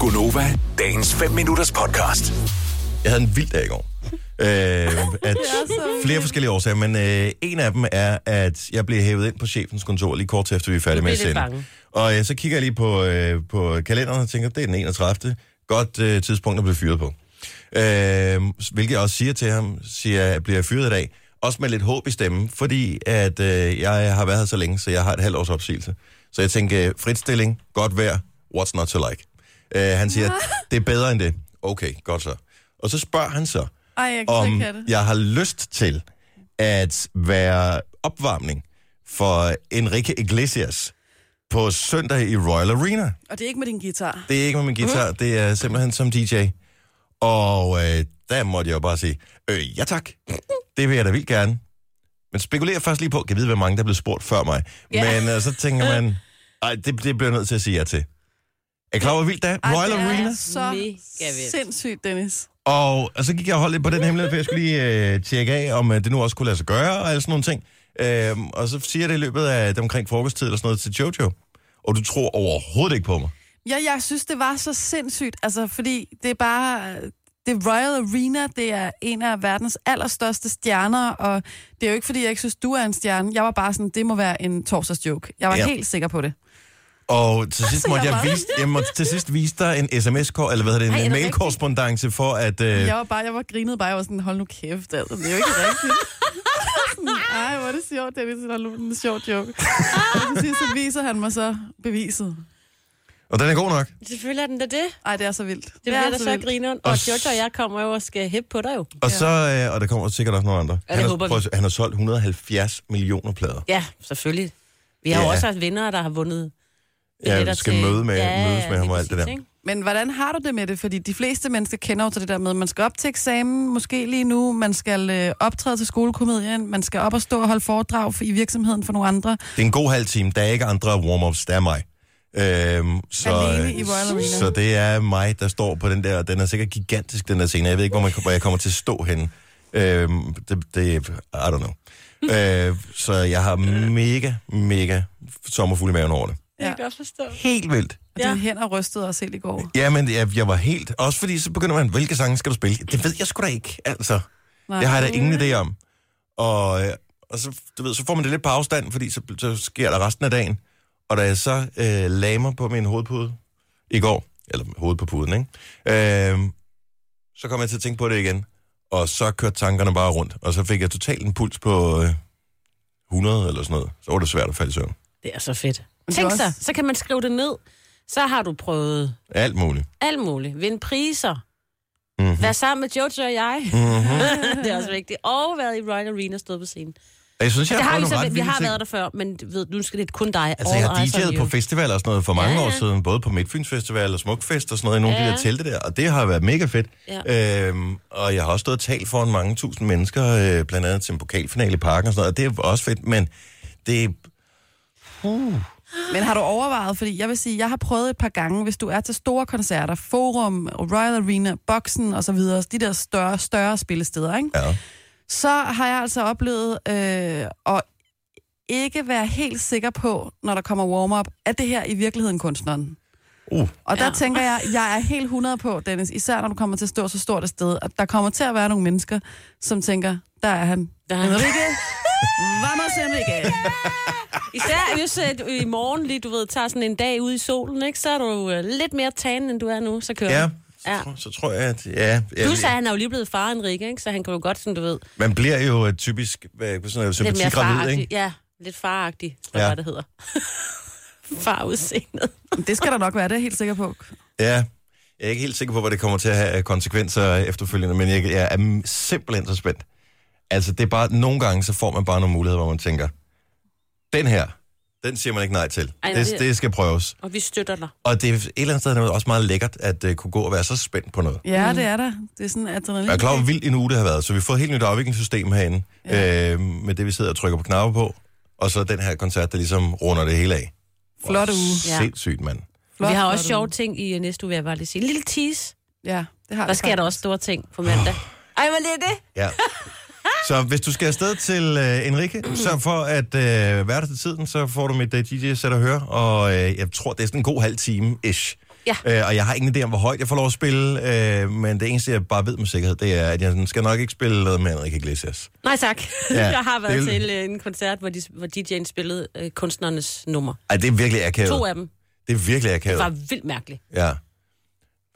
Gunova, dagens 5 minutters podcast. Jeg havde en vild dag i går. Øh, at flere forskellige årsager, men øh, en af dem er, at jeg blev hævet ind på chefens kontor lige kort efter, vi er færdige Du med at blev lidt sende. bange. Og øh, så kigger jeg lige på, øh, på kalenderen og tænker, det er den 31. Godt øh, tidspunkt at blive fyret på. Øh, hvilket jeg også siger til ham, siger, jeg, bliver jeg fyret i dag? Også med lidt håb i stemmen, fordi at øh, jeg har været her så længe, så jeg har et halvt års opsigelse. Så jeg tænker, øh, fritstilling, godt vejr, what's not to like? Øh, han siger, det er bedre end det. Okay, godt så. Og så spørger han så, Ej, jeg kan slet om ikke have det. jeg har lyst til at være opvarmning for Enrique Iglesias på søndag i Royal Arena. Og det er ikke med din guitar. Det er ikke med min guitar, Uh-huh. det er simpelthen som DJ. Og øh, der måtte jeg jo bare sige, øh, ja tak, det vil jeg da vildt gerne. Men spekulerer først lige på, kan jeg vide, hvor mange der blev spurgt før mig. Ja. Men øh, så tænker man, ej, det, det bliver jeg nødt til at sige ja til. Er I klar over, hvor vildt det er? Royal det er Arena? så Mega vildt. sindssygt, Dennis. Og, og så gik jeg og holdt lidt på den hemmelighed, for jeg skulle lige øh, tjekke af, om øh, det nu også kunne lade sig gøre, og alle sådan nogle ting. Øhm, og så siger jeg det i løbet af det omkring frokosttid eller sådan noget til Jojo. Og du tror overhovedet ikke på mig. Ja, jeg synes, det var så sindssygt, altså, fordi det er bare... Det er Royal Arena, det er en af verdens allerstørste stjerner, og det er jo ikke, fordi jeg ikke synes, du er en stjerne. Jeg var bare sådan, det må være en torsdagsjoke. Jeg var Ja. ja. helt sikker på det. Og Altså, til sidst Så måtte jeg jeg, var- vise, jeg måtte til sidst vise dig en sms -kor, eller hvad hedder Ej, det, er en det mailkorrespondance for at... Øh, Jeg var bare, jeg var grinet bare, jeg var sådan, hold nu kæft, altså, det er jo ikke rigtigt. Sådan, Ej, hvor er det sjovt, Dennis, det er en sjov joke. Og til sidst, så viser han mig så beviset. og den er god nok. Selvfølgelig er den da det. Det Ej, det er så vildt. Det, bliver da så så vildt. grineren. Og Og s- Jojo og jeg kommer jo og skal hæppe på dig jo. Og, så, øh, og der kommer sikkert også nogle andre. Ja, det han, håber har, vi. at se, han har solgt 170 millioner plader. Ja, selvfølgelig. Vi har Ja. jo også haft venner, der har vundet Ja, billetter du skal til- møde med, mødes med ham lige og alt det præcis, der. ikke? Men hvordan har du det med det? Fordi de fleste mennesker kender jo til det der med, at man skal op til eksamen, måske lige nu, man skal øh, optræde til skolekomedien, man skal op og stå og holde foredrag for, i virksomheden for nogle andre. Det er en god halv time. Der er ikke andre warm-ups, der er mig. Øhm, så, øh, Alene i Royal Arena. så det er mig, der står på den der, og den er sikkert gigantisk, den der scene. Jeg ved ikke, hvor, man, hvor jeg kommer til at stå henne. Øhm, det, det, I don't know. øh, så jeg har mega, mega sommerfuld i maven over det. Jeg kan Ja. godt forstå. Helt vildt. Og ja. dine hænder rystede også helt i går. Jamen, jeg, jeg var helt... Også fordi, så begynder man, hvilke sange skal du spille? Det ved jeg sgu da ikke, altså. Nej. Det har jeg da ingen idé om. Og, øh, og så, du ved, så får man det lidt på afstand, fordi så, så sker der resten af dagen. Og da jeg så øh, lagde mig på min hovedpude i går, eller hovedet på puden, ikke? Øh, så kom jeg til at tænke på det igen. Og så kørte tankerne bare rundt. Og så fik jeg totalt en puls på øh, 100 eller sådan noget. Så var det svært at falde i søvn. Det er så fedt. Men det er Tænk også- så, så kan man skrive det ned. Så har du prøvet Alt muligt. alt muligt. Vinde priser. Mhm. Vær sammen med Jojo og jeg. Mm-hmm. det er også vigtigt. Og været i Royal Arena stået på scenen. Og jeg synes, jeg Det har Altså, har prøvet vi, nogle så, ret vi vilde har ting. været der før, men du ved, nu skal det kun dig. Altså, jeg har All eyes on DJ'et you. på festivaler og sådan noget for mange Ja, år ja. siden, både på Midtfyns Festival og Smukfest og sådan noget, i nogle af de Ja. der telte der, og det har været mega fedt. Ja. Øhm, og jeg har også stået og talt foran mange tusind mennesker, øh, blandt andet til en pokalfinale i parken og sådan noget, og det er også fedt, men det... Men har du overvejet, fordi jeg vil sige, jeg har prøvet et par gange, hvis du er til store koncerter, Forum, Royal Arena, Boxen og så videre, de der større, større spillesteder, ikke? Ja. så har jeg altså oplevet øh, at ikke være helt sikker på, når der kommer warm-up, at det her i virkeligheden kunstneren. Uh, Og der Ja. ja. tænker jeg, jeg er helt 100 på, Dennis, især når du kommer til at stå så stort et sted, at der kommer til at være nogle mennesker, som tænker, der er han. Der er han. Enrique. Vamos, Enrique. Især hvis øh, du i morgen lige, du ved, tager sådan en dag ude i solen, ikke? så er du øh, lidt mere tan, end du er nu, så kører ja, den. så, Ja. ja. Så, tror jeg, at... Ja, jeg, Plus, at han er jo lige blevet far, Enrique, ikke? så han kan jo godt, som du ved, man bliver jo øh, typisk øh, sådan noget lidt mere sympatigravid, faragtig. ikke? Ja, lidt faragtig, tror Ja. ja. det hedder. Farudseendet. Det skal der nok være, det er jeg helt sikker på. Ja. Jeg er ikke helt sikker på, hvad det kommer til at have af konsekvenser efterfølgende, men jeg, jeg er simpelthen så spændt. Altså, det er bare, nogle gange, så får man bare nogle muligheder, hvor man tænker, den her, den siger man ikke nej til. Ej, Ej, nej, det, det- det skal prøves. Og vi støtter dig. Og det er et eller andet sted noget også meget lækkert, at uh, kunne gå og være så spændt på noget. Ja, Mm. det er der. Det er sådan adrenalin. Jeg er klar over, hvor vildt en uge det har været, så vi har fået et helt nyt afviklingssystem herinde, ja. øh, med det, vi sidder og trykker på knapper på, og så den her koncert, der ligesom runder det hele af. Flot uge. Ja. Sindssygt, mand. Flot, vi har også flot sjove uge. ting i øh, næste uge, vil jeg bare lige sige. En lille tease. Ja, det har Der sker der også store ting på mandag. Ej, hvor lige det? Ja. Så hvis du skal afsted til øh, Enrique, sørg for at øh, være der til tiden, så får du mit øh, DJ-sæt at høre, og øh, jeg tror, det er sådan en god halv time-ish. Ja. Øh, og jeg har ingen idé om, hvor højt jeg får lov at spille, øh, men det eneste, jeg bare ved med sikkerhed, det er, at jeg sådan skal nok ikke spille noget med Enrique Iglesias. Nej tak. Ja, Ja, jeg har været det- det... til øh, en koncert, hvor, de, hvor DJ'en spillede øh, kunstnernes nummer. Ej, det er virkelig akavet. To af dem. Det er virkelig Det akavet. var vildt mærkeligt. Ja.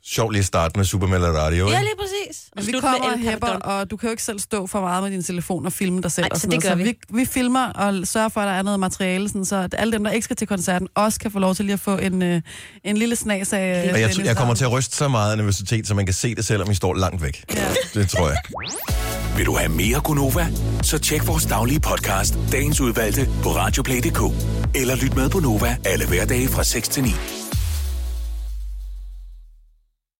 Sjovt lige at starte med Super Melody Radio, Ja, ikke? lige præcis. Men vi slut kommer med og El hæpper, Capadon. og du kan jo ikke selv stå for meget med din telefon og filme dig selv. Nej, og så sådan det noget. gør så vi. vi. filmer og sørger for, at der er noget materiale, sådan, så at alle dem, der ikke skal til koncerten, også kan få lov til lige at få en, øh, en lille snas af... øh, Og jeg, Dennis jeg kommer Harm. til at ryste så meget af nervøsitet, så man kan se det, selvom I står langt væk. Ja. Det tror jeg. Vil du have mere Gunova? Så tjek vores daglige podcast, dagens udvalgte, på radioplay.dk. Eller lyt med på Nova alle hverdage fra 6 til 9.